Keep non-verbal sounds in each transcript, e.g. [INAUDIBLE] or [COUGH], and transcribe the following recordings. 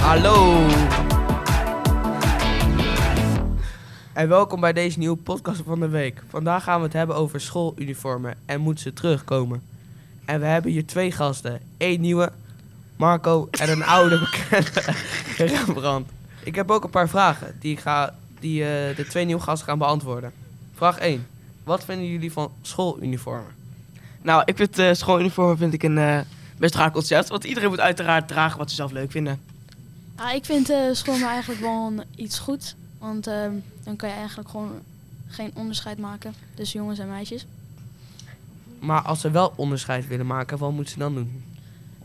Hallo. En welkom bij deze nieuwe podcast van de week. Vandaag gaan we het hebben over schooluniformen en moeten ze terugkomen. En we hebben hier twee gasten. één nieuwe, Marco, en een oude bekende, [LAUGHS] Rembrandt. Ik heb ook een paar vragen die, ik ga, die eh, de twee nieuwe gasten gaan beantwoorden. Vraag 1. Wat vinden jullie van schooluniformen? Nou, ik vind eh schooluniform vind ik een eh, best raar concept. Want iedereen moet uiteraard dragen wat ze zelf leuk vinden. Ah, ik vind eh school maar eigenlijk wel een- iets goed. Want ehm, dan kan je eigenlijk gewoon geen onderscheid maken tussen jongens en meisjes. Maar als ze wel onderscheid willen maken, wat moeten ze dan doen?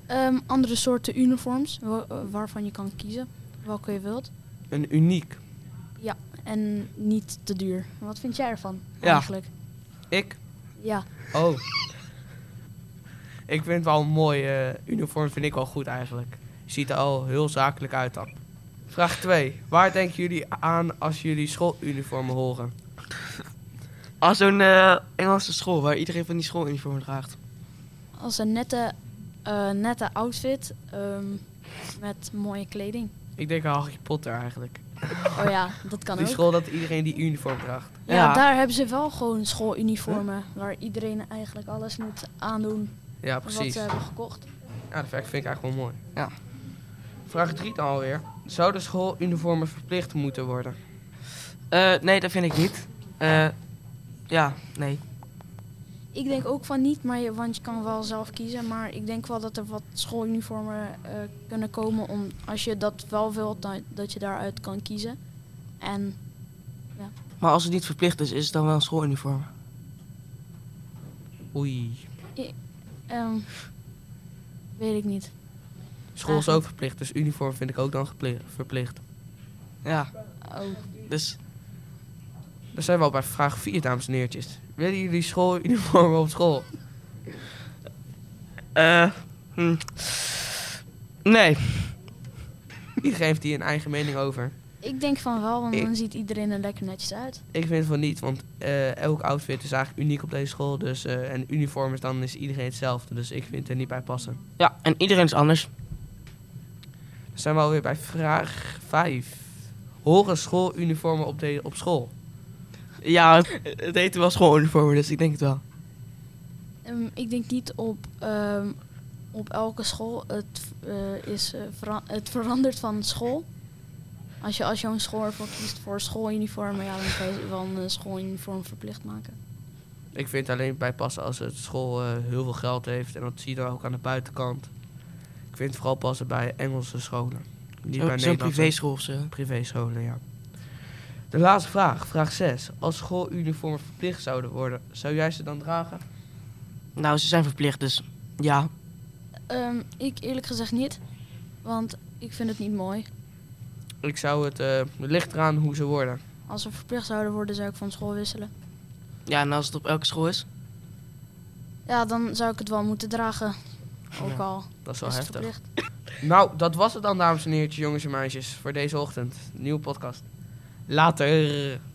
Ehm, andere soorten uniforms wa- eh, waarvan je kan kiezen welke je wilt. Een uniek. En niet te duur. Wat vind jij ervan Ja. eigenlijk? Ik? Ja. Oh. ik vind wel een mooi eh, uniform, vind ik wel goed eigenlijk. Ziet er al heel zakelijk uit dan. Vraag 2. Waar denken jullie aan als jullie schooluniformen horen? Als zo'n eh, Engelse school waar iedereen van die schooluniform draagt. Als een nette, eh, nette outfit ehm, met mooie kleding. Ik denk aan Harry Potter eigenlijk. Oh ja, dat kan die ook. school dat iedereen die uniform draagt. Ja, Ja. daar hebben ze wel gewoon schooluniformen. Waar iedereen eigenlijk alles moet aandoen Ja, wat eh, precies. ze hebben gekocht. Ja, dat vind ik eigenlijk wel mooi. Ja. Vraag 3 dan alweer. Zouden schooluniformen verplicht moeten worden? Eh, nee, dat vind ik niet. Eh, ja, nee. Ik denk ook van niet, maar je, want je kan wel zelf kiezen. Maar ik denk wel dat er wat schooluniformen eh, kunnen komen. Om, als je dat wel wilt, dan, dat je daaruit kan kiezen. En Maar als het niet verplicht is, is het dan wel een schooluniform. Oei. ehm, weet ik niet. School is ook verplicht, dus uniform vind ik ook dan gepli- verplicht. Ja, Oh. dus Dan zijn we al bij vraag 4, dames en heertjes. Willen jullie [LAUGHS] schooluniformen op school? eh, hm. nee. Iedereen heeft hier een eigen mening over. Ik denk van wel, want Ik- dan ziet iedereen er lekker netjes uit. Ik vind van niet, want eh, elk outfit is eigenlijk uniek op deze school. Dus, eh, en uniform is dan is iedereen hetzelfde, dus ik vind het er niet bij passen. Ja, en iedereen is anders. Dan zijn we alweer bij vraag 5. Horen schooluniformen op, de, op school? Ja, het- het heet wel schooluniform, dus ik denk het wel. Ehm, ik denk niet op, ehm, op elke school. Het, eh, is, eh, vera- het verandert van school. Als je, als je een school ervoor kiest voor schooluniformen, ja, dan kan je wel een eh, schooluniform verplicht maken. Ik vind het alleen bijpassen als het school eh, heel veel geld heeft. En dat zie je dan ook aan de buitenkant. Ik vind het vooral passen bij Engelse scholen. Niet Oh, bij Zo- Zo'n Nederlandse privéschool of zo. privéscholen, ja. De laatste vraag, vraag 6. Als schooluniformen verplicht zouden worden, zou jij ze dan dragen? Nou, ze zijn verplicht, dus ja. Ehm, ik eerlijk gezegd niet, want ik vind het niet mooi. Ik zou het eh licht eraan hoe ze worden. Als ze verplicht zouden worden, zou ik van school wisselen. Ja, en als het op elke school is? Ja, dan zou ik het wel moeten dragen. Ook Ja, al Dat is wel is het heftig. verplicht. Nou, dat was het dan, dames en heren, jongens en meisjes, voor deze ochtend. Nieuwe podcast. Later.